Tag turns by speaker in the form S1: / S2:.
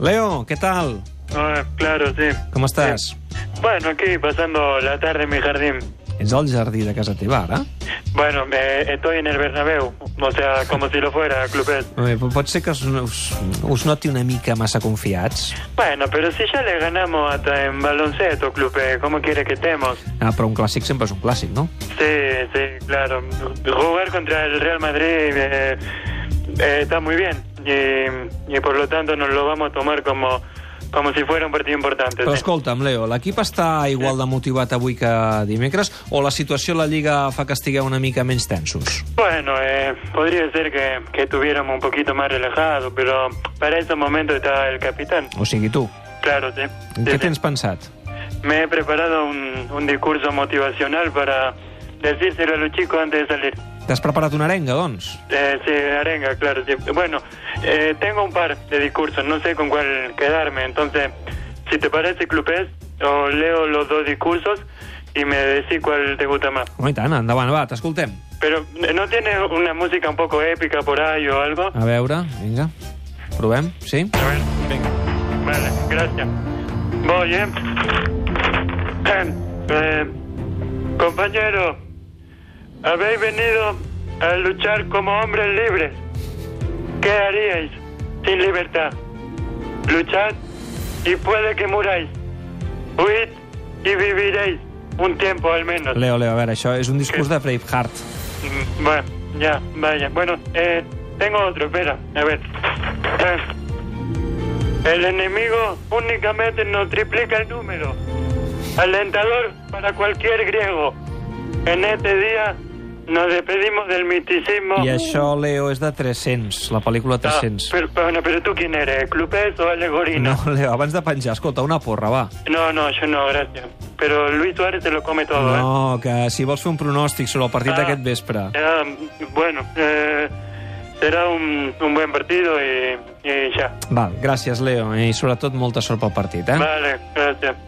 S1: Leo, ¿qué tal?
S2: Ah, claro, sí.
S1: Com estàs?
S2: Bueno, aquí pasando la tarde en mi jardín.
S1: Ets al jardí de casa teva, ara?
S2: Bueno, me- estoy en el Bernabéu, o sea, como si lo fuera, Clubet.
S1: Bé, po- pot ser que us, us, us noti una mica massa confiats.
S2: Bueno, pero si ya le ganamos hasta en baloncesto, Clubet, ¿cómo quiere que estemos?
S1: Ah, però un clàssic sempre és un clàssic, no?
S2: Sí, sí, claro. Jugar contra el Real Madrid eh, eh, está muy bien y, y por lo tanto nos lo vamos a tomar como, como si fuera un partido importante.
S1: Però
S2: sí.
S1: escolta'm, Leo, l'equip està igual de motivat avui que dimecres o la situació a la Lliga fa que estigueu una mica menys tensos?
S2: Bueno, eh, podría ser que, que estuviéramos un poquito más relajados, pero para ese momento está el capitán.
S1: O sigui, tu,
S2: Claro, sí. Sí,
S1: què
S2: sí.
S1: tens pensat?
S2: Me he preparado un, un discurso motivacional para decírselo a los chicos antes de salir.
S1: T'has preparat una arenga, doncs?
S2: Eh, sí, arenga, claro. sí. Bueno, eh, tengo un par de discursos, no sé con cuál quedarme. Entonces, si te parece, Clupés, o leo los dos discursos y me decís cuál te gusta más.
S1: Home, i tant, endavant, va, t'escoltem.
S2: Pero, ¿no tiene una música un poco épica por ahí o algo?
S1: A veure, vinga, provem, sí?
S2: A ver. Venga. Vale, gracias. Voy, ¿eh? Eh, compañero, habéis venido a luchar como hombres libres. ¿Qué haríais sin libertad? Luchad y puede que muráis. Huid y viviréis un tiempo al menos.
S1: Leo, Leo, a veure, això és un discurs de Braveheart.
S2: Mm, Bueno, ya, vaya. Bueno, eh, tengo otro, espera, a ver. Eh, el enemigo únicamente nos triplica el número. Alentador para cualquier griego. En este día nos despedimos del misticismo.
S1: I això, Leo, és de 300, la pel·lícula
S2: Ah,
S1: 300.
S2: pero, bueno, pero tú quién eres, ¿Clupés o Alegorina?
S1: No, Leo, abans de penjar, escolta, una porra, va.
S2: No, no, yo no, gracias. Pero Luis Suárez se lo come todo, ¿eh?
S1: No, que si vols fer un pronòstic sobre el partit
S2: Ah.
S1: d'aquest vespre.
S2: Será, bueno, eh, será un, un buen partido y, y ya.
S1: Val, gràcies, Leo, i sobretot molta sort pel partit, eh?
S2: Vale, gracias.